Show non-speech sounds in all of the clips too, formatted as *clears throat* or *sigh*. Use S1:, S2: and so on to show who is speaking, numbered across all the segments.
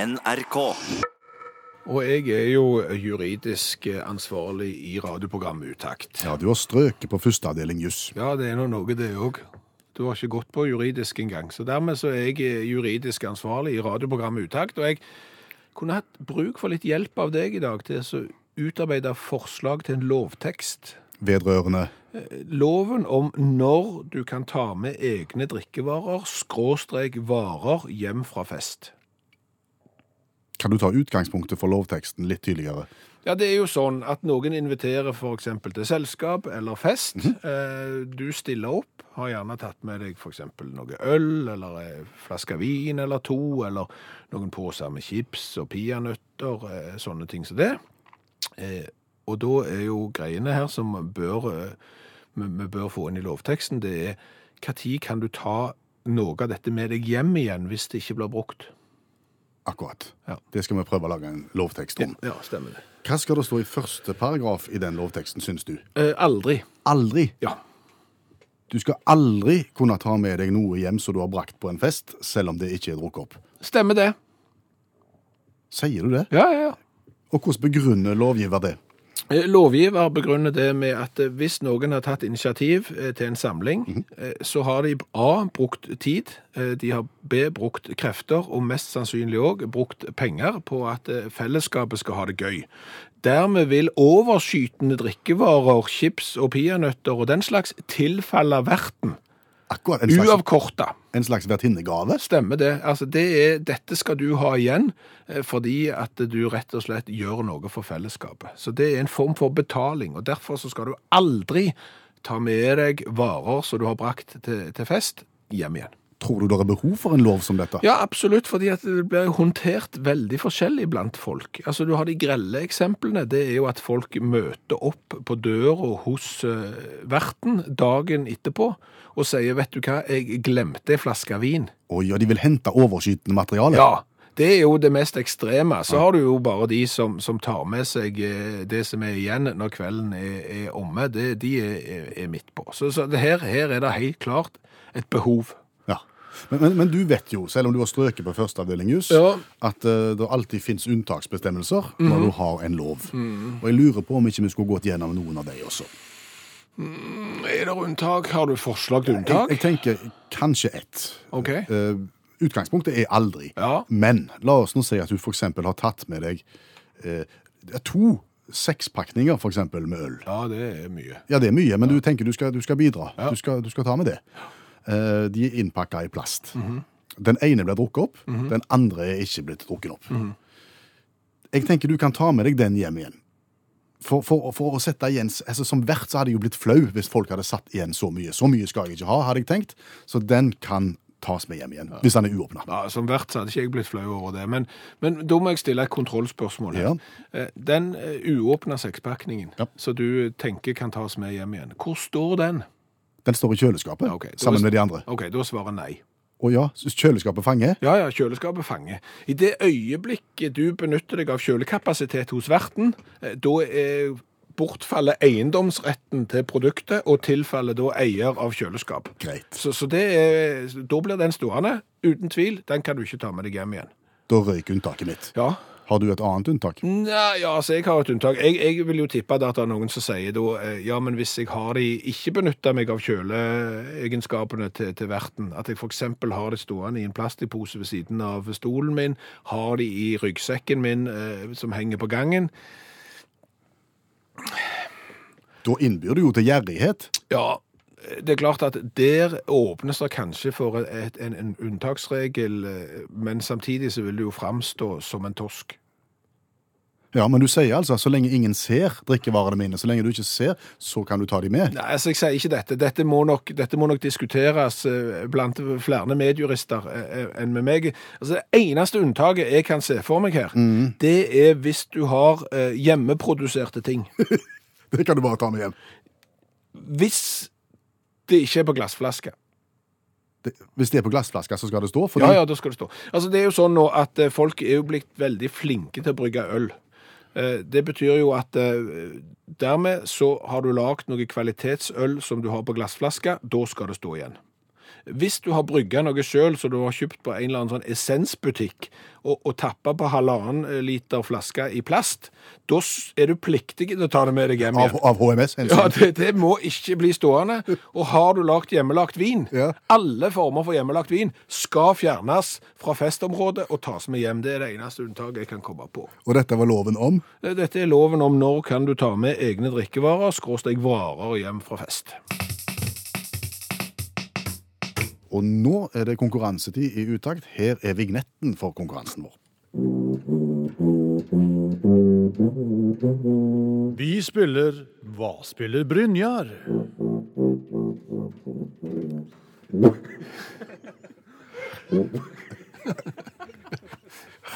S1: NRK.
S2: Og jeg er jo juridisk ansvarlig i radioprogrammet Utakt.
S3: Ja, du har strøket på førsteavdeling juss.
S2: Ja, det er nå noe, det òg. Du har ikke gått på juridisk engang. Så dermed så er jeg eh, juridisk ansvarlig i radioprogrammet Utakt. Og jeg kunne hatt bruk for litt hjelp av deg i dag til å utarbeide forslag til en lovtekst.
S3: Vedrørende
S2: Loven om når du kan ta med egne drikkevarer, skråstrek varer, hjem fra fest.
S3: Kan du ta utgangspunktet for lovteksten litt tydeligere?
S2: Ja, det er jo sånn at noen inviterer for eksempel til selskap eller fest. Eh, Du stiller opp, har gjerne tatt med deg for eksempel noe øl, eller en flaske vin eller to, eller noen påser med chips og pianøtter, eh, sånne ting som det. Eh, Og da er jo greiene her som bør, eh, vi vi bør få inn i lovteksten, det er hva tid kan du ta noe av dette med deg hjem igjen hvis det ikke blir brukt?
S3: Akkurat.
S2: Ja.
S3: Det skal vi prøve å lage en lovtekst om.
S2: Ja, stemmer det.
S3: Hva skal det stå i første paragraf i den lovteksten, syns du?
S2: Eh, Aldri.
S3: Aldri.
S2: Ja.
S3: Du skal aldri kunne ta med deg noe hjem som du har brakt på en fest, selv om det ikke er drukket opp.
S2: Stemmer det.
S3: Sier du det?
S2: Ja, ja, ja.
S3: Og hvordan begrunner lovgiver det?
S2: Eh, Lovgiver begrunner det med at eh, hvis noen har tatt initiativ eh, til en samling, eh, så har de A. brukt tid, eh, de har B. brukt krefter, og mest sannsynlig òg brukt penger på at eh, fellesskapet skal ha det gøy. Dermed vil overskytende drikkevarer, chips og peanøtter og den slags tilfalle verten.
S3: Akkurat en slags,
S2: Uavkorta.
S3: en slags vertinnegave?
S2: Stemmer det. Altså, det er, dette skal du ha igjen eh, fordi at du rett og slett gjør noe for fellesskapet. Så det er en form for betaling, og derfor så skal du aldri ta med deg varer som du har brakt til, til fest, hjem igjen.
S3: Tror du det er behov for en lov som dette?
S2: Ja, absolutt, fordi at det blir håndtert veldig forskjellig blant folk. Altså, Du har de grelle eksemplene. Det er jo at folk møter opp på døra hos eh, verten dagen etterpå og sier 'vet du hva, jeg glemte ei flaske vin'.
S3: Oi, og de vil hente overskytende materiale?
S2: Ja, det er jo det mest ekstreme. Så har du jo bare de som, som tar med seg eh, det som er igjen når kvelden er, er omme. Det, de er, er, er midt på. Så, så det her, her er det helt klart et behov.
S3: Ja. Men, men, men du vet jo, selv om du har strøket på førsteavdeling jus,
S2: Ja. Mhm.
S3: at eh, det alltid finnes unntaksbestemmelser når du har en lov. Og jeg lurer på om ikke vi skulle gått gjennom noen av de også.
S2: Er det unntak? Har du forslag til
S3: Jeg, jeg
S2: unntak?
S3: tenker kanskje ett.
S2: Ok.
S3: Eh, utgangspunktet er aldri.
S2: Ja.
S3: Men la oss nå si at du f.eks. har tatt med deg eh, to sekspakninger for eksempel, med øl.
S2: Ja, det er mye.
S3: Ja, det er mye, men du tenker du skal, du skal bidra. Du, skal, du skal ta med det. Eh, de er innpakka i plast.
S2: Mhm.
S3: Den ene ble drukket opp, den andre er ikke blitt drukket opp.
S2: Mhm.
S3: Jeg tenker du kan ta med deg den hjem igjen. For, for, for å sette igjen, altså Som vert så hadde jeg jo blitt flau hvis folk hadde satt igjen så mye. Så mye skal jeg ikke ha, hadde jeg tenkt. Så den kan tas med hjem igjen, hvis den er uåpna.
S2: Ja, Som vert så hadde ikke jeg blitt flau over det. Men, men da må jeg stille et kontrollspørsmål. her. Eh, Den eh, uåpna sekspakningen
S3: Ja.
S2: som du tenker kan tas med hjem igjen, hvor står den?
S3: Den står i kjøleskapet
S2: Ja, ok. Da-
S3: sammen med de andre.
S2: OK, da svarer nei.
S3: Og ja, kjøleskapet fanger.
S2: Ja, ja, kjøleskapet fanger. I det øyeblikket du benytter deg av kjølekapasitet hos verten, eh, da er bortfaller eiendomsretten til produktet, og tilfaller da eier av kjøleskap.
S3: Greit.
S2: Så, så det er, da blir den stående, uten tvil. Den kan du ikke ta med deg hjem igjen.
S3: Da røyk unntaket mitt.
S2: Ja,
S3: Har du et annet unntak?
S2: Nei, ja, altså jeg har et unntak. Jeg, jeg vil jo tippe at det er noen som sier da, eh, ja, men hvis jeg har de ikke benytta meg av kjøleegenskapene til, til verten, at jeg f.eks. har de stående i en plastpose ved siden av stolen min, har de i ryggsekken min eh, som henger på gangen,
S3: Da innbyr du jo til gjerrighet.
S2: Ja, eh, det er klart at der åpnes det kanskje for et, en, en unntaksregel, eh, men samtidig så vil det jo framstå som en torsk.
S3: Ja, men du sier altså så lenge ingen ser drikkevarene mine, så lenge du ikke ser, så kan du ta de med.
S2: Nei, altså jeg sier ikke dette. Dette må nok, dette må nok diskuteres eh, blant flere medjurister eh, eh, enn med meg. Altså Det eneste unntaket jeg kan se for meg her, det er hvis du har eh, hjemmeproduserte ting.
S3: Det kan du bare ta med hjem.
S2: Hvis det ikke er på glassflaske.
S3: Det, hvis det er på glassflasker, så skal det stå. Fordi,
S2: Ja, ja, da skal det stå. Altså, det er jo sånn nå at eh, folk er jo blitt veldig flinke til å brygge øl. Eh, Det betyr jo at eh, dermed så har du lagd noe kvalitetsøl som du har på glassflaske, da skal det stå igjen. Hvis du har brygga noe sjøl som du har kjøpt på en eller annen sånn essensbutikk, og, og tappa på halvannen liter flaske i plast, da s- er du pliktig til å ta det med deg hjem
S3: Av,
S2: igjen.
S3: av HMS? hensyn.
S2: Ja, det, det må ikke bli stående. Og har du lagd hjemmelagt vin
S3: Ja.
S2: Alle former for hjemmelagt vin skal fjernes fra festområdet og tas med hjem. Det er det eneste unntaket jeg kan komme på. Eh,
S3: Og dette var loven om?
S2: Dette er loven om når kan du ta med egne drikkevarer, skråstrek varer hjem fra fest.
S3: Og nå er det konkurransetid i utakt. Her er vignetten for konkurransen vår. *laughs*
S1: Vi spiller Hva spiller Brynjar?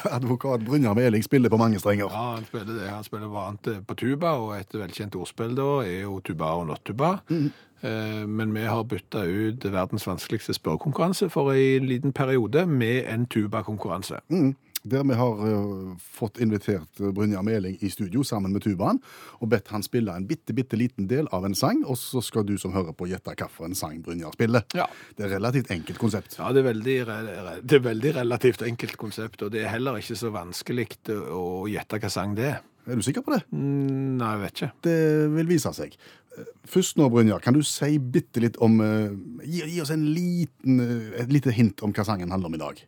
S3: Advokat Brynjar Meling spiller på mange strenger.
S2: Ja, han spiller det. Han spiller vant eh, på tuba, og et velkjent ordspill da er jo tuba og nattuba. Eh, Men vi har bytta ut verdens vanskeligste spørrekonkurranse for en liten periode med en tubakonkurranse.
S3: Mm. *clears throat* Der vi har eh, fått invitert eh, Brynjar Meling i studio sammen med tubaen og bedt han spille en bitte, bitte liten del av en sang, og så skal du som hører på gjette hvilken sang Brynjar spiller.
S2: Ja.
S3: Det er et relativt enkelt konsept.
S2: Ja, det er, veldig, re- re- det er veldig relativt enkelt konsept, og det er heller ikke så vanskelig eh, å gjette hva sang det er.
S3: Er du sikker på det?
S2: Mm, Nei, jeg vet ikke.
S3: Det vil vise seg. Eh, Først nå, Brynjar, kan du si bitte litt om eh, Gi, gi oss en liten, eh, et lite hint om hva sangen handler om i dag.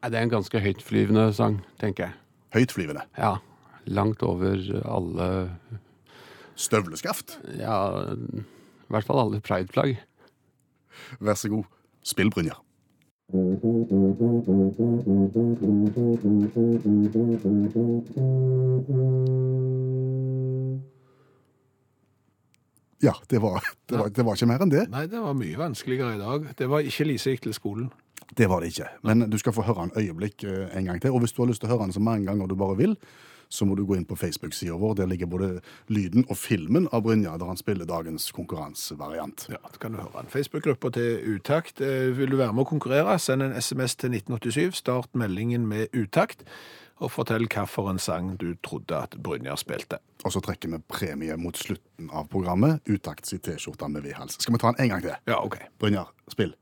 S4: Nei, Det er en ganske høytflyvende sang, tenker jeg.
S3: Høytflyvende.
S4: Ja. Langt over alle
S3: Støvleskaft.
S4: Ja, i hvert fall alle prideflagg.
S3: Vær så god. Spill, Brynjar. Ja, det var, det, var, det var ikke mer enn det.
S2: Nei, det var mye vanskeligere i dag. Det var ikke Lise gikk til skolen.
S3: Det var det ikke. Men du skal få høre den øyeblikk eh, en gang til. Og hvis du har lyst til å høre den så mange ganger du bare vil, så må du gå inn på Facebook-sida vår. Der ligger både lyden og filmen av Brynjar, der han spiller dagens konkurransevariant.
S2: Ja, da kan du høre en Facebook-gruppe til Utakt. Eh, Vil du være med å konkurrere, send en SMS til 1987, start meldingen med Utakt, og fortell hvilken sang du trodde at Brynjar spilte.
S3: Og så trekker vi premie mot slutten av programmet. Utakt i T-skjorta med V-hals. Skal vi ta den en gang til?
S2: Ja, OK.
S3: Brynjar, spill.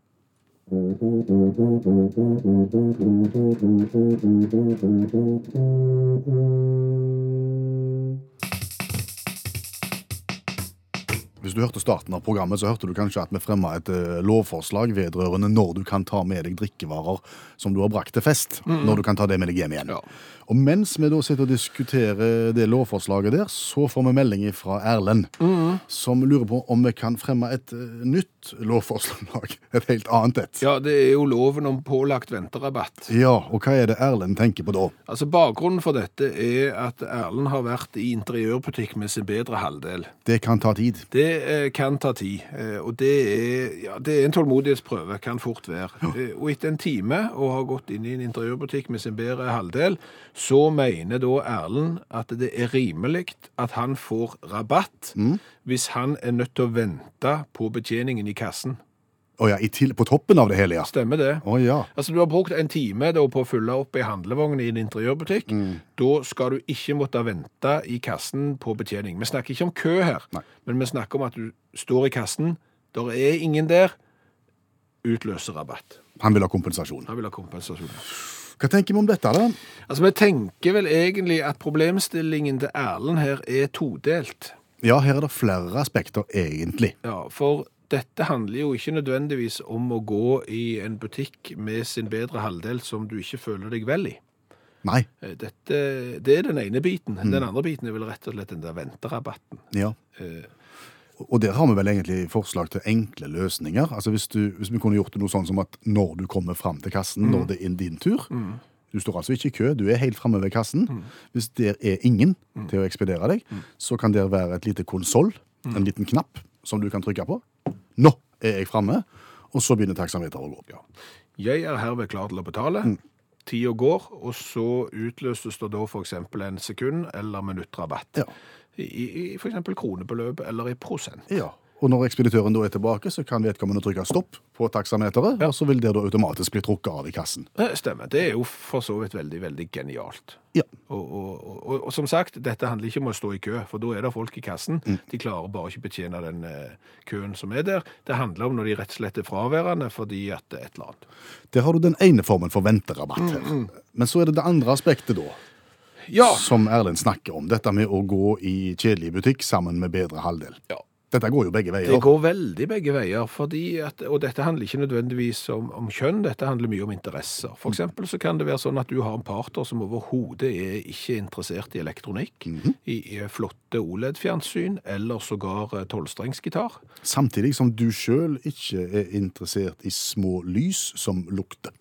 S3: Hvis du hørte starten av programmet, så hørte du kanskje at vi fremma et eh, lovforslag vedrørende når du kan ta med deg drikkevarer som du har brakt til fest. Når du kan ta det med deg hjem igjen.
S2: Mm. Ja.
S3: Og mens vi da sitter og diskuterer det lovforslaget der, så får vi melding fra Erlend,
S2: Mm.
S3: som lurer på om vi kan fremme et eh, nytt lovforslag. *laughs* Et helt annet et.
S2: Ja, det er jo loven om pålagt venterabatt.
S3: Ja, og hva er det Erlend tenker på da?
S2: Altså, Bakgrunnen for dette er at Erlend har vært i interiørbutikk med sin bedre halvdel.
S3: Det kan ta tid.
S2: Det eh, kan ta tid, eh, og det er, ja, det er en tålmodighetsprøve, kan fort være. Eh, Og etter en time og har gått inn i en interiørbutikk med sin bedre halvdel, så mener da Erlend at det er rimelig at han får rabatt hvis han er nødt til å vente på betjeningen i kassen.
S3: Å ja, i til, på toppen av det hele, ja.
S2: Stemmer det?
S3: Å ja.
S2: Altså, Du har brukt en time da, på å fylle opp ei handlevogn i en interiørbutikk. Da skal du ikke måtte vente i kassen på betjening. Vi snakker ikke om kø her,
S3: Nei.
S2: men vi snakker om at du står i kassen, der er ingen der, utløser rabatt.
S3: Han vil ha kompensasjon.
S2: Han vil ha kompensasjon.
S3: Hva tenker vi om dette, da?
S2: Altså, Vi tenker vel egentlig at problemstillingen til Erlend her er todelt.
S3: Ja, her er det flere aspekter, egentlig.
S2: Ja, for dette handler jo ikke nødvendigvis om å gå i en butikk med sin bedre halvdel som du ikke føler deg vel i.
S3: Nei.
S2: Eh, Dette, det er den ene biten. Den andre biten er vel rett og slett den der venterabatten.
S3: Ja.
S2: Eh,
S3: Og der har vi vel egentlig forslag til enkle løsninger. Altså Hvis, du, hvis vi kunne gjort det noe sånn som at når du kommer fram til kassen, når det er din tur Du står altså ikke i kø, du er helt framme ved kassen. Hvis der er ingen til å ekspedere deg, så kan der være et lite konsoll, en liten knapp, som du kan trykke på. Nå er jeg framme! Og så begynner taksameteret å gå. opp.
S2: Jeg er herved klar til å betale. Tida går, og så utløses det da f.eks. en sekund- eller minuttrabatt.
S3: Ja.
S2: I, i f.eks. kronebeløp eller i prosent.
S3: Ja. Og når ekspeditøren da er tilbake, så kan vedkommende trykke stopp på taksameteret, og så vil det da automatisk bli trukket av i kassen.
S2: Eh, Stemmer. Det er jo for så vidt veldig, veldig genialt.
S3: Ja.
S2: Og, og, og, og, og som sagt, dette handler ikke om å stå i kø, for da er det folk i kassen. De klarer bare ikke betjene den eh, køen som er der. Det handler om når de rett og slett er fraværende fordi at det er et eller annet.
S3: Der har du den ene formen for venterabatt her. Men så er det det andre aspektet da,
S2: Mm, Ja!
S3: som Erlend snakker om. Dette med å gå i kjedelig butikk sammen med bedre halvdel.
S2: Ja.
S3: Dette går jo begge veier.
S2: Det går veldig begge veier, fordi at, og dette handler ikke nødvendigvis om, om kjønn, dette handler mye om interesser. For eksempel så kan det være sånn at du har en partner som overhodet er ikke interessert i elektronikk, i, i flotte OLED-fjernsyn, eller sågar eh, tolvstrengsgitar.
S3: Samtidig som du sjøl ikke er interessert i små lys som lukter.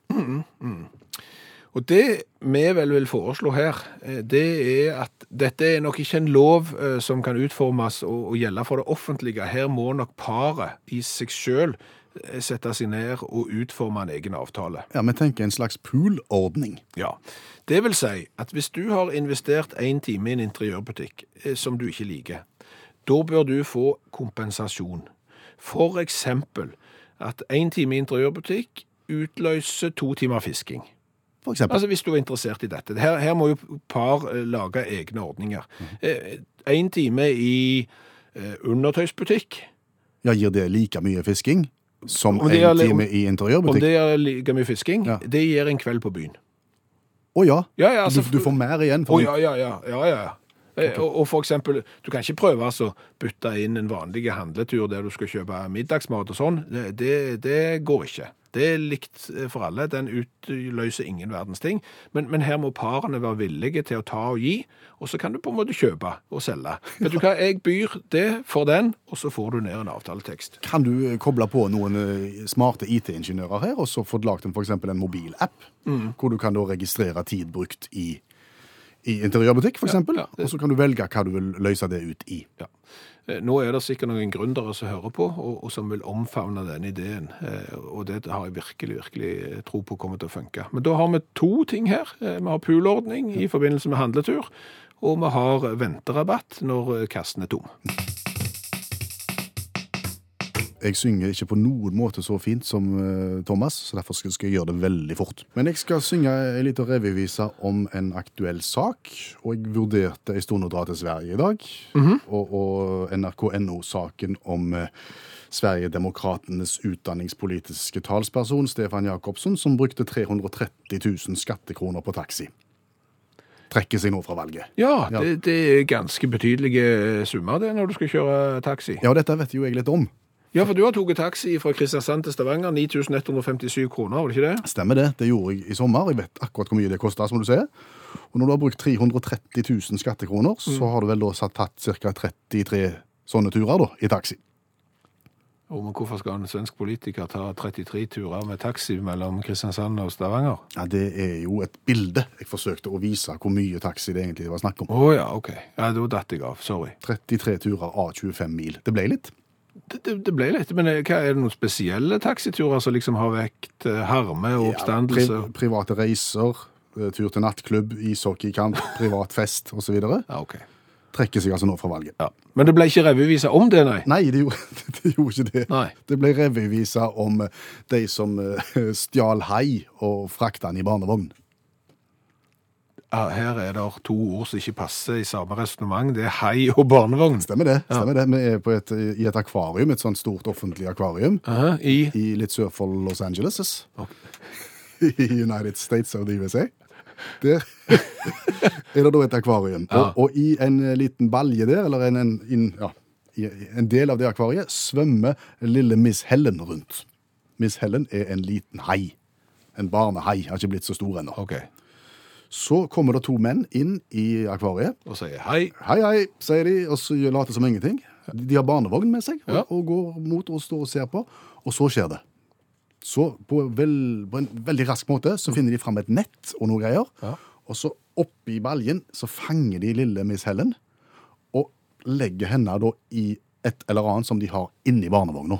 S2: Og det vi vel vil foreslå her, eh, det er at dette er nok ikke en lov eh, som kan utformes og, og gjelde for det offentlige. Her må nok paret i seg selv eh, sette seg ned og utforme en egen avtale.
S3: Ja, Vi tenker en slags poolordning.
S2: Ja. Det vil si at hvis du har investert en time i en interiørbutikk eh, som du ikke liker, da bør du få kompensasjon. For eksempel at en time i interiørbutikk utløser to timer fisking.
S3: For eksempel.
S2: Altså hvis du er interessert i dette. Her, her må jo par eh, lage egne ordninger. Eh, En time i eh, undertøysbutikk,
S3: Ja, Gir det like mye fisking som
S2: Altså- Om
S3: en
S2: det er-
S3: time i
S2: om
S3: interiørbutikk?
S2: det er like mye fisking,
S3: Ja.
S2: det gir en kveld på byen.
S3: Å ja.
S2: Ja, ja, altså-
S3: du, du får mer igjen.
S2: Å
S3: For
S2: ja, ja, ja. ja, ja. ja. Eh, Og, og for eksempel, du kan ikke prøve altså, å bytte inn en vanlig handletur der du skal kjøpe middagsmat og sånn. Det, det, det går ikke. Det er likt eh, for alle. Den utløser ingen verdens ting. Men, men her må parene være villige til å ta og gi, og så kan du på en måte kjøpe og selge. Vet
S3: *laughs*
S2: du hva, jeg byr det for den, og så får du ned en avtaletekst.
S3: Kan du eh, koble på noen eh, smarte IT-ingeniører her, og så få lagd en, for eksempel en mobilapp, hvor du kan da registrere tid brukt i, i interiørbutikk, for eksempel. Og så kan du velge hva du vil løse det ut i.
S2: Ja. Eh, Nå er det sikkert noen gründere som hører på, og, og som vil omfavne den ideen. Eh, Og det har jeg virkelig, virkelig eh, tro på kommer til å funke. Men da har vi to ting her. Eh, Vi har poolordning i forbindelse med handletur, og vi har venterabatt når eh, kassen er tom.
S3: Jeg synger ikke på noen måte så fint som eh, Thomas, så derfor skal skal jeg gjøre det veldig fort. Men jeg skal synge en liten revyvise om en aktuell sak, og jeg vurderte en stund å dra til Sverige i dag, og, og NRK.no-saken om eh, Sverigedemokratenes utdanningspolitiske talsperson Stefan Jakobsen, som brukte 330 000 skattekroner på taxi. Trekker seg nå fra valget.
S2: Ja,
S3: Ja.
S2: det, det er ganske betydelige eh, summer det når du skal kjøre taxi.
S3: Ja, og dette vet jo jeg litt om.
S2: Ja, for du har tatt taxi fra Kristiansand til Stavanger. 9157 kroner, var det ikke det?
S3: Stemmer det. Det gjorde jeg i sommer. Jeg vet akkurat hvor mye det kosta, som du sier. Og når du har brukt 330 000 skattekroner, så har du vel da satt, tatt ca. 33 sånne turer da, i taxi.
S2: Og men hvorfor skal en svensk politiker ta 33 turer med taxi mellom Kristiansand og Stavanger?
S3: Ja, Det er jo et bilde jeg forsøkte å vise hvor mye taxi det egentlig var snakk om.
S2: Å ja, OK. Ja, Da datt jeg av. Sorry.
S3: 33 turer av 25 mil. Det ble litt.
S2: Det, det, det ble litt, men eh, hva, er det noen spesielle taxiturer som liksom har vekt eh, harme og oppstandelse?
S3: Pri private reiser, eh, tur til nattklubb, ishockeykamp, privat fest osv.
S2: Ja, ok.
S3: Trekker seg altså nå fra valget.
S2: Ja. Men det ble ikke revyvisa om det, nei?
S3: Nei, det gjorde, *laughs* det gjorde ikke det.
S2: Nei.
S3: Det ble revyvisa om eh, de som eh, *laughs* stjal hai og frakta den i barnevogn.
S2: Ja, her er det to ord som ikke passer i samme resonnement. Det er hei og barnevogn.
S3: Stemmer det. stemmer det. Vi er på et, eh, i et akvarium, et sånt stort offentlig akvarium
S2: Aha, I
S3: i litt sør for Los Angeles. *laughs* I United States of the USA. Der *laughs* er det da et akvarium. Og, og i en eh, liten balje der, eller en, en, inn- ja, i en del av det akvariet, svømmer lille Miss Helen rundt. Miss Helen er en liten hai. En barnehai. Har ikke blitt så stor ennå.
S2: OK.
S3: Så kommer det to menn inn i akvariet.
S2: Og sier hei.
S3: Hei, hei, sier de, og så gjør- later som ingenting. De har barnevogn med seg og,
S2: Ja.
S3: og går mot og står og ser på. Og så skjer det. Så på, vel, på en veldig rask måte så finner de fram et nett og noe greier. Og så oppi baljen så fanger de lille Miss Helen og legger henne da i et eller annet som de har inni barnevogna.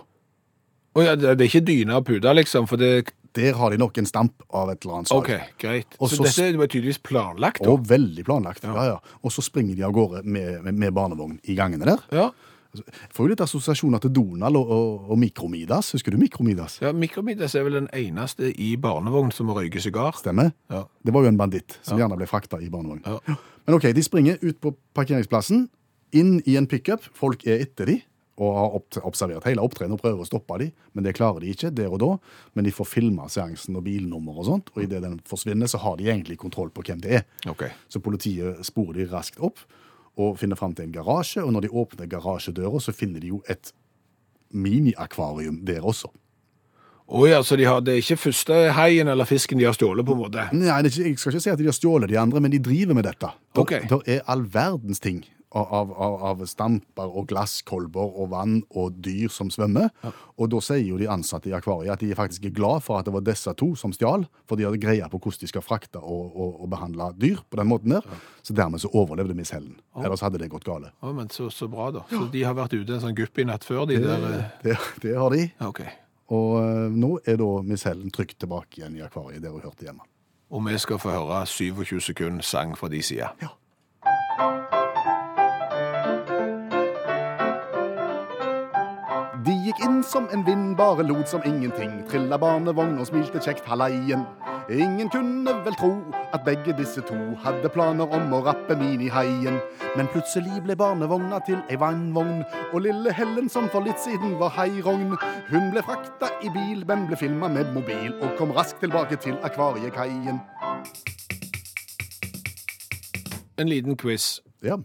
S2: Å ja, det det er ikke dyne og pute, liksom, for det
S3: Der har de nok en stamp av et eller annet slag.
S2: OK, greit.
S3: Og
S2: Så
S3: så-
S2: dette var tydeligvis planlagt, da?
S3: Og veldig planlagt. Ja. Ja, Og så springer de av gårde med, med, med barnevogn i gangene der.
S2: Ja.
S3: Altså, Jeg får jo litt assosiasjoner til Donald og, og, og Mikromidas. Husker du Mikromidas?
S2: Ja, Mikromiddags er vel den eneste i barnevogn som røyker sigar.
S3: Stemmer?
S2: Ja.
S3: Det var jo en banditt som gjerne ble frakta i barnevogn.
S2: Ja.
S3: Men OK, de springer ut på parkeringsplassen, inn i en pickup. Folk er etter de og har opp- observert hele opptredenen og prøver å stoppe de, men det klarer de ikke der og da. Men de får filma seansen og bilnummer og sånt, og idet den forsvinner, så har de egentlig kontroll på hvem det er.
S2: Ok.
S3: Så politiet sporer de raskt opp og finner fram til en garasje. Og når de åpner garasjedøra, så finner de jo et miniakvarium der også.
S2: Å ja, så de har, det er ikke første haien eller fisken de har stjålet, på en måte.
S3: Nei, det er ikke, Jeg skal ikke si at de har stjålet de andre, men de driver med dette. Der,
S2: Ok.
S3: der er all verdens ting av, av, av- av stamper og glasskolber og vann og dyr som svømmer. Og da sier jo de ansatte i akvariet at de faktisk er glad for at det var disse to som stjal, for de hadde greie på hvordan de skal frakte og, og, og behandle dyr på den måten der. Så dermed så overlevde Miss Helen. Ellers hadde det gått galt.
S2: Å, men så, så bra, da. Så de har vært ute en sånn gupp i natt før, de der eh,
S3: Det, det har de.
S2: ja, OK.
S3: Og eh, nå er da Miss Helen trygt tilbake igjen i akvariet der hun hørte hjemme.
S2: Og vi skal få høre 27 sekunder sang fra de sida.
S3: De gikk inn som en vind, bare lot som ingenting. Trilla barnevogn og smilte kjekt hallaien. Ingen kunne vel tro at begge disse to hadde planer om å rappe minihaien. Men plutselig ble barnevogna til ei vannvogn, og lille Helen som for litt siden var hairogn. Hun ble frakta i bil, men ble filma med mobil, og kom raskt tilbake til akvariekaien.
S2: En liten quiz.
S3: Ja,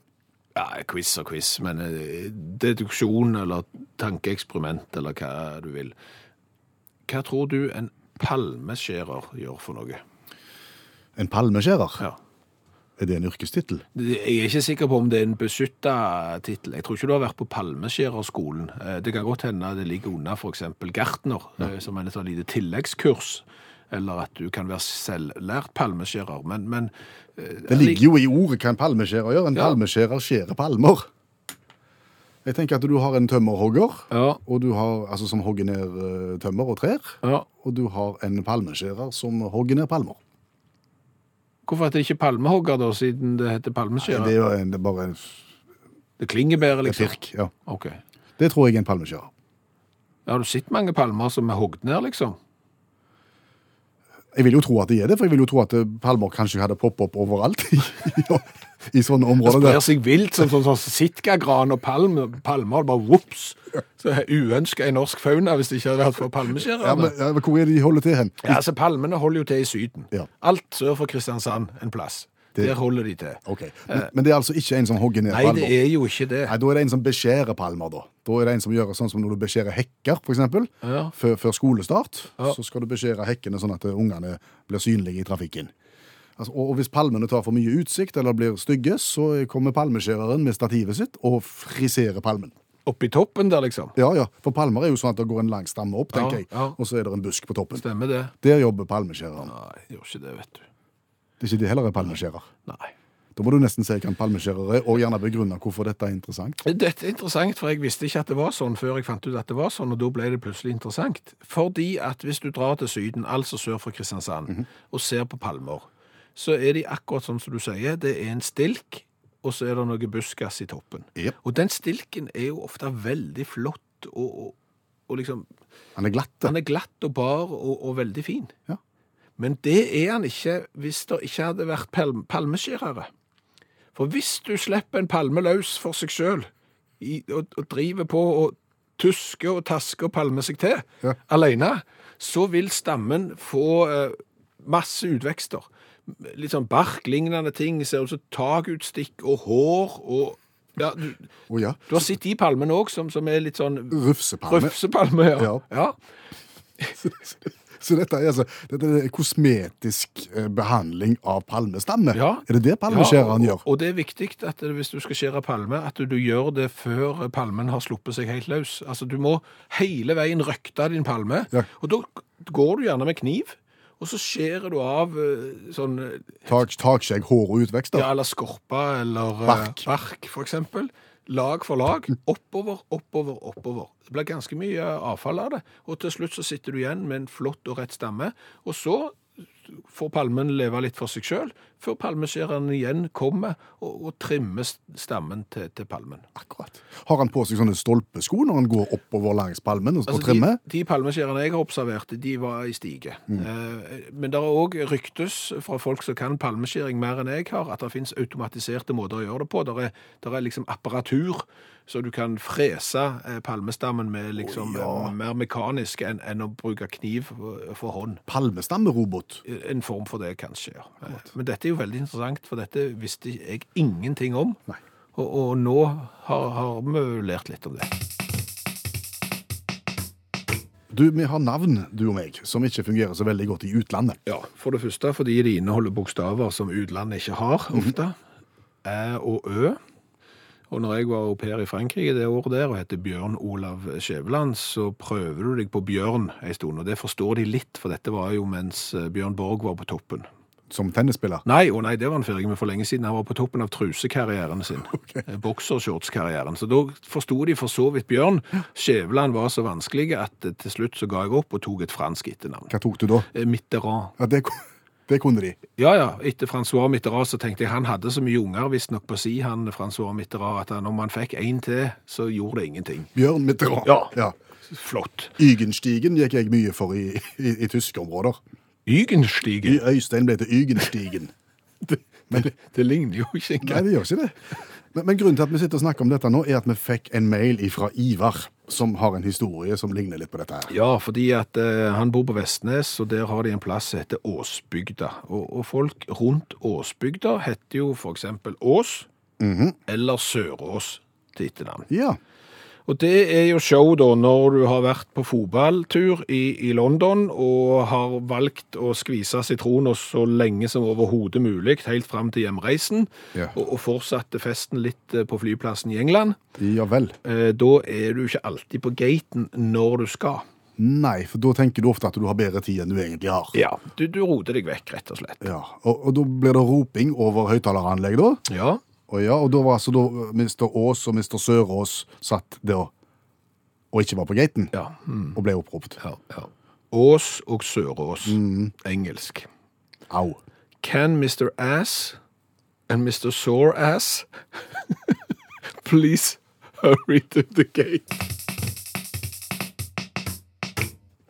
S2: Ja, quiz og quiz, men eh, deduksjon eller tankeeksperiment eller hva du vil. Hva tror du en palmeskjærer gjør for noe?
S3: en palmeskjærer.
S2: Ja.
S3: Er det en yrkestittel?
S2: Jeg er ikke sikker på om det er en beskytta tittel. Jeg tror ikke du har vært på palmeskjærerskolen. Eh, Det kan godt hende det ligger unna f.eks. gartner, eh, som er et sånn lite tilleggskurs. Eller at du kan være selvlært palmeskjærer. Men, men eh,
S3: Det ligger jo i ordet hva en palmeskjærer gjør. En
S2: Ja.
S3: palmeskjærer skjærer palmer. Jeg tenker at du har en tømmerhogger,
S2: Ja.
S3: og du har, altså, som hogger ned eh, tømmer og trær.
S2: Ja.
S3: Og du har en palmeskjærer som hogger ned palmer.
S2: hvorfor heter det ikke palmehogger, da, siden det heter palmeskjærer? Det,
S3: Det er jo en, det er bare en
S2: klinger bedre,
S3: det er
S2: liksom.
S3: firk. Ja.
S2: Ok.
S3: Det tror jeg er en palmeskjærer.
S2: Har du sett mange palmer som er hogd ned, liksom?
S3: Jeg vil jo tro at de er det, for jeg vil jo tro at eh, palmer kanskje hadde poppet opp overalt i, *laughs* i- i sånne
S2: Det
S3: områder.
S2: sprer
S3: der.
S2: seg vilt, som sånn, sånn sitkagran og palme, palmer. Bare vops! Så uønska i norsk fauna hvis det ikke hadde vært for palmeskjærerne.
S3: Ja, men, ja, men hvor er det de holder til hen?
S2: Ja, altså Palmene holder jo til i Syden.
S3: Ja.
S2: Alt sør for Kristiansand en plass.
S3: Det-
S2: Der holder de til.
S3: Ok, men, men det er altså ikke en som hogger ned
S2: Nei,
S3: palmer?
S2: det er jo ikke det.
S3: Nei, Da er det en som beskjærer palmer. Da Da er det en som gjør sånn som når du beskjærer hekker, f.eks.
S2: Ja.
S3: Før, før skolestart.
S2: Ja.
S3: Så skal du beskjære hekkene sånn at eh, ungene blir synlige i trafikken. Altså, og, og hvis palmene tar for mye utsikt eller blir stygge, så kommer palmeskjæreren med stativet sitt og friserer palmen.
S2: Oppi toppen der, liksom.
S3: Ja, ja, For palmer er jo sånn at det går en lang stamme opp,
S2: Ja,
S3: tenker jeg.
S2: ja.
S3: Og så er det en busk på toppen.
S2: Stemmer det?
S3: Der jobber palmeskjæreren.
S2: Nei, gjør ikke det, vet du.
S3: Det er ikke det heller er palmeskjærer.
S2: Nei.
S3: Da må du nesten si hva en palmeskjærer er, og gjerne begrunne hvorfor dette er interessant.
S2: Dette er interessant, for jeg visste ikke at det var sånn før jeg fant ut at det var sånn, og da ble det plutselig interessant. Fordi at hvis du drar til Syden, altså sør for Kristiansand, og ser på palmer, så er de akkurat sånn som du sier, det er en stilk, og så er det noe buskas i toppen.
S3: Jep.
S2: Og den stilken er jo ofte veldig flott, og, og, og liksom,
S3: Han er glatt.
S2: den er glatt og bar og, og veldig fin.
S3: Ja.
S2: Men det er han ikke hvis det ikke hadde vært palm palmeskjærere. For hvis du slipper en palme løs for seg sjøl, og, og driver på og tusker og tasker og palmer seg til
S3: Ja.
S2: alene, så vil stammen få eh, masse utvekster. Litt sånn barklignende ting, ser ut som takutstikk og hår og ja, du,
S3: Å ja.
S2: du har sett de palmene òg, som, som er litt sånn
S3: Rufsepalme.
S2: Røfsepalme, ja.
S3: Mm. Ja.
S2: ja.
S3: Så dette er, altså, dette er kosmetisk eh, behandling av palmestamme?
S2: Ja.
S3: Er det det palmeskjæreren
S2: Ja,
S3: gjør?
S2: og, og det er viktig at det, hvis du skal skjære palme, at du, du gjør det før palmen har sluppet seg helt løs. Altså, du må hele veien røkte din palme,
S3: Ja.
S2: og da går du gjerne med kniv, og så skjærer du av eh, sånn eh,
S3: Tak, takskjegg, hår og utvekster?
S2: ja, eller skorpa eller eh,
S3: Bark.
S2: bark, for eksempel. Lag for lag. Oppover, oppover, oppover. Det blir ganske mye avfall av det. Og til slutt så sitter du igjen med en flott og rett stamme. Og så får palmen leve litt for seg sjøl, før palmeskjæreren igjen kommer og, og trimmer s- stammen til, til palmen.
S3: Akkurat. Har han på seg sånne stolpesko når han går oppover langs palmen og, og
S2: Altså,
S3: trimmer? Mm.
S2: De, de palmeskjærerne jeg har observert, de var i stige. Eh, men det er òg ryktes fra folk som kan palmeskjæring mer enn jeg har, at det finnes automatiserte måter å gjøre det på. Der er, der er liksom apparatur, så du kan frese eh, palmestammen med liksom eh, mer mekanisk enn, enn å bruke kniv for- for hånd.
S3: Palmestammerobot.
S2: En form for det, kanskje. ja. Eh, Men dette er jo veldig interessant, for dette visste jeg ingenting om.
S3: Nei.
S2: Og, og nå har, har vi lært litt om det.
S3: Du, vi har navn, du og meg, som ikke fungerer så veldig godt i utlandet.
S2: Ja, for det første fordi de inneholder bokstaver som utlandet ikke har ofte. Æ og Ø. Og når jeg var au pair i Frankrike det året der og heter Bjørn Olav Skjæveland, så prøver du deg på bjørn en stund. Og det forstår de litt, for dette var jo mens eh, Bjørn Borg var på toppen.
S3: Som tennisspiller.
S2: Nei, å nei, det var han ferdig med for lenge siden. Han var på toppen av trusekarrieren sin. Eh, Boksershortskarrieren. Så da forsto de for så vidt Bjørn. Skjæveland var så vanskelig at eh, til slutt så ga jeg opp og tok et fransk etternavn.
S3: Hva tok du da?
S2: Eh, Mitterrand.
S3: Ja, det, ku- *laughs* det kunne de.
S2: Ja, ja. Etter Francois Mitterrand så tenkte jeg han hadde så mye unger, visstnok på si, han Francois Mitterrand, at han, om han fikk én til, så gjorde det ingenting.
S3: Bjørn Mitterrand.
S2: Ja. Flott.
S3: Ygenstigen gikk jeg mye for i, i, i tyske områder.
S2: Ygenstige.
S3: Y Øystein ble til Ygenstigen.
S2: *laughs* Men det, det ligner jo ikke
S3: Nei,
S2: engang.
S3: det gjør ikke det. Men, men grunnen til at vi sitter og snakker om dette nå, er at vi fikk en mail fra Ivar, som har en historie som ligner litt på dette her.
S2: Ja, fordi at eh, han bor på Vestnes, og der har de en plass som heter Åsbygda. Og, og folk rundt Åsbygda heter jo for eksempel Ås eller Sørås til etternavn.
S3: Ja.
S2: Og det er jo show da, når du har vært på fotballtur i, i London og har valgt å skvise sitroner så lenge som overhodet mulig, helt fram til hjemreisen,
S3: Ja.
S2: og, og fortsatte festen litt eh, på flyplassen i England.
S3: Ja vel.
S2: Eh, da er du ikke alltid på gaten når du skal.
S3: Nei, for da tenker du ofte at du har bedre tid enn du egentlig har.
S2: Ja. Du, du roter deg vekk, rett og slett.
S3: Ja, og, og da blir det roping over høyttaleranlegg, da.
S2: Ja.
S3: Og ja, og da var altså da eh, Mr. Aas og Mr. Sørås satt der og ikke var på gaten,
S2: ja.
S3: og ble oppropt.
S2: ja, ja. Ås og Sørås. Engelsk.
S3: Au.
S2: Can Mr. Ass and Mr. Sore Ass *laughs* please hurry to the gate?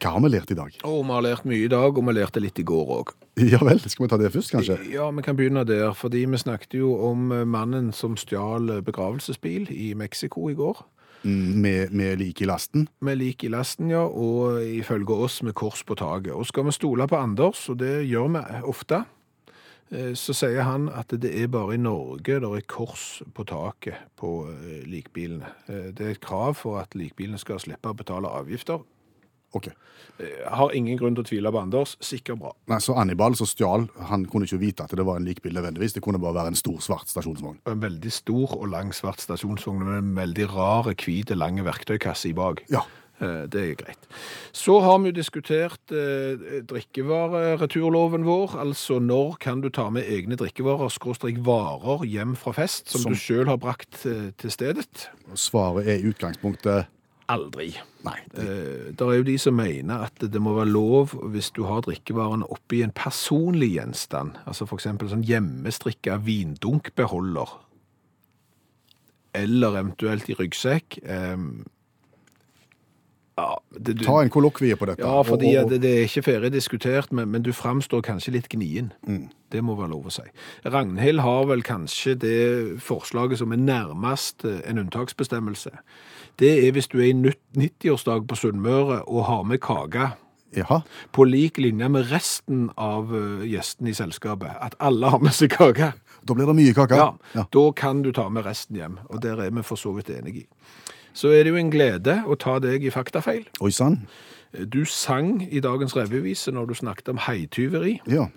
S3: Hva har vi lært i dag? *laughs*
S2: Og vi har lært mye i dag, og vi lærte litt i går òg.
S3: Ja vel, skal vi ta det først, kanskje?
S2: Ja, vi kan begynne der, fordi vi snakket jo om eh, mannen som stjal eh, begravelsesbil i Mexico i går.
S3: Mm, Med, med lik i lasten?
S2: Med lik i lasten, ja, og ifølge oss med kors på taket. Og skal vi stole på Anders, og det gjør vi ofte, eh, så sier han at det er bare i Norge der er kors på taket på eh, likbilene. Eh, Det er et krav for at likbilene skal slippe å betale avgifter.
S3: Ok.
S2: Jeg har ingen grunn til å tvile på Anders. Sikkert bra.
S3: Nei, så Annibal som stjal, han kunne ikke vite at det var en likbil nødvendigvis, det kunne bare være en stor svart stasjonsvogn.
S2: Og En veldig stor og lang svart stasjonsvogn med en veldig rar, hvit, lang verktøykasse i bak.
S3: Ja.
S2: Eh, Det er greit. Så har vi jo diskutert eh, drikkevarereturloven vår. Altså når kan du ta med egne drikkevarer, skråstrek varer, hjem fra fest som,
S3: Som-
S2: du sjøl har brakt eh, til stedet?
S3: Og Svaret er i utgangspunktet
S2: Aldri.
S3: nei. Det,
S2: Eh, der er jo de som mener at det må være lov hvis du har drikkevarene oppi en personlig gjenstand. Altså f.eks. sånn hjemmestrikka vindunkbeholder. Eller eventuelt i ryggsekk. Eh, ja, det, du,
S3: ta en kollokvie på dette.
S2: ja, fordi
S3: og- og-
S2: at det, det er ikke ferdig diskutert, men, men du framstår kanskje litt gnien.
S3: Mm.
S2: Det må være lov å si. Ragnhild har vel kanskje det forslaget som er nærmest eh, en unntaksbestemmelse. Det er hvis du er i nytt- 90-årsdag på Sunnmøre og har med kake
S3: Jaha.
S2: på lik linje med resten av eh, gjestene i selskapet. At alle har med seg kake.
S3: Da blir det mye kake.
S2: Ja,
S3: Ja.
S2: da kan du ta med resten hjem, og der er vi for så vidt enige i. Så er det jo en glede å ta deg i faktafeil.
S3: Oi sann.
S2: Du sang i dagens revyvise når du snakket om heityveri,
S3: Ja.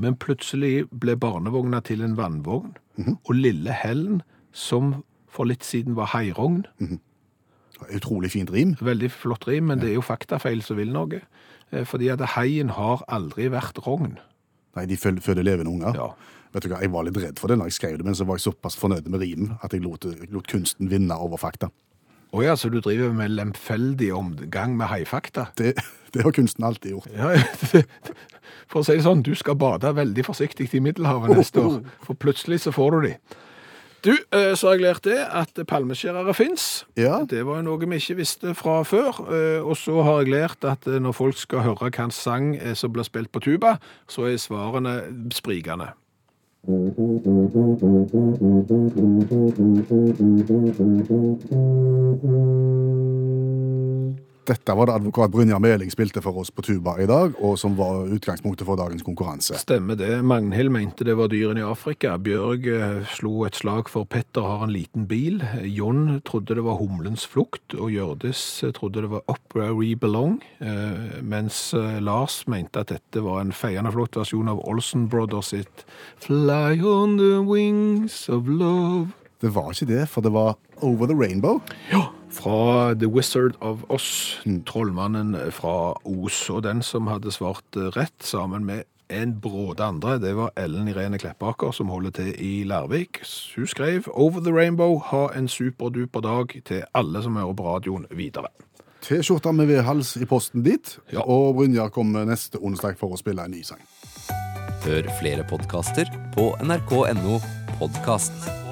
S2: men plutselig ble barnevogna til en vannvogn, og lille Hellen, som for litt siden var heirogn,
S3: Utrolig fint rim.
S2: veldig flott rim, men det er jo faktafeil som vil noe, eh, fordi at heien har aldri vært rogn.
S3: Nei, de fød- føder levende unger.
S2: Ja.
S3: Vet du hva, Jeg var litt redd for det når jeg skrev det, men så var jeg såpass fornøyd med rimen at jeg lot, lot kunsten vinne over fakta.
S2: Å ja, så du driver med lemfeldig omgang med haifakta?
S3: Det, *laughs* det har kunsten alltid gjort.
S2: Ja, *laughs* for å si det sånn, du skal bade veldig forsiktig i Middelhavet neste år, for plutselig så får du de. Du, eh, så har jeg lært det at palmeskjærere fins.
S3: Ja.
S2: Det var jo noe vi ikke visste fra før. eh, Og så har jeg lært at eh, når folk skal høre hvilken sang eh, som blir spilt på tuba, så er svarene sprikende.
S3: Dette var det advokat Brynjar Meling spilte for oss på tuba i dag, og som var utgangspunktet for dagens konkurranse.
S2: Stemmer det. Magnhild mente det var dyrene i Afrika. Bjørg eh, slo et slag for Petter har en liten bil. Jon trodde det var humlens flukt, og Hjørdis eh, trodde det var Up Where We Belong, eh, mens eh, Lars mente at dette var en feiende flott versjon av Olsen Brothers sitt Fly on the wings of love.
S3: Det var ikke det, for det var Over the Rainbow.
S2: Fra The Wizard of Oz, trollmannen fra Os. Og den som hadde svart eh, rett, sammen med en bråde andre, det var Ellen Irene Kleppaker, som holder til i Lærvik. Hun skrev 'Over the Rainbow', ha en superduper dag til alle som hører på radioen videre.
S3: T-skjorta med vedhals i posten dit,
S2: Ja.
S3: og Brynjar kommer neste onsdag for å spille en ny sang.
S5: Hør flere podkaster på nrk.no podkast.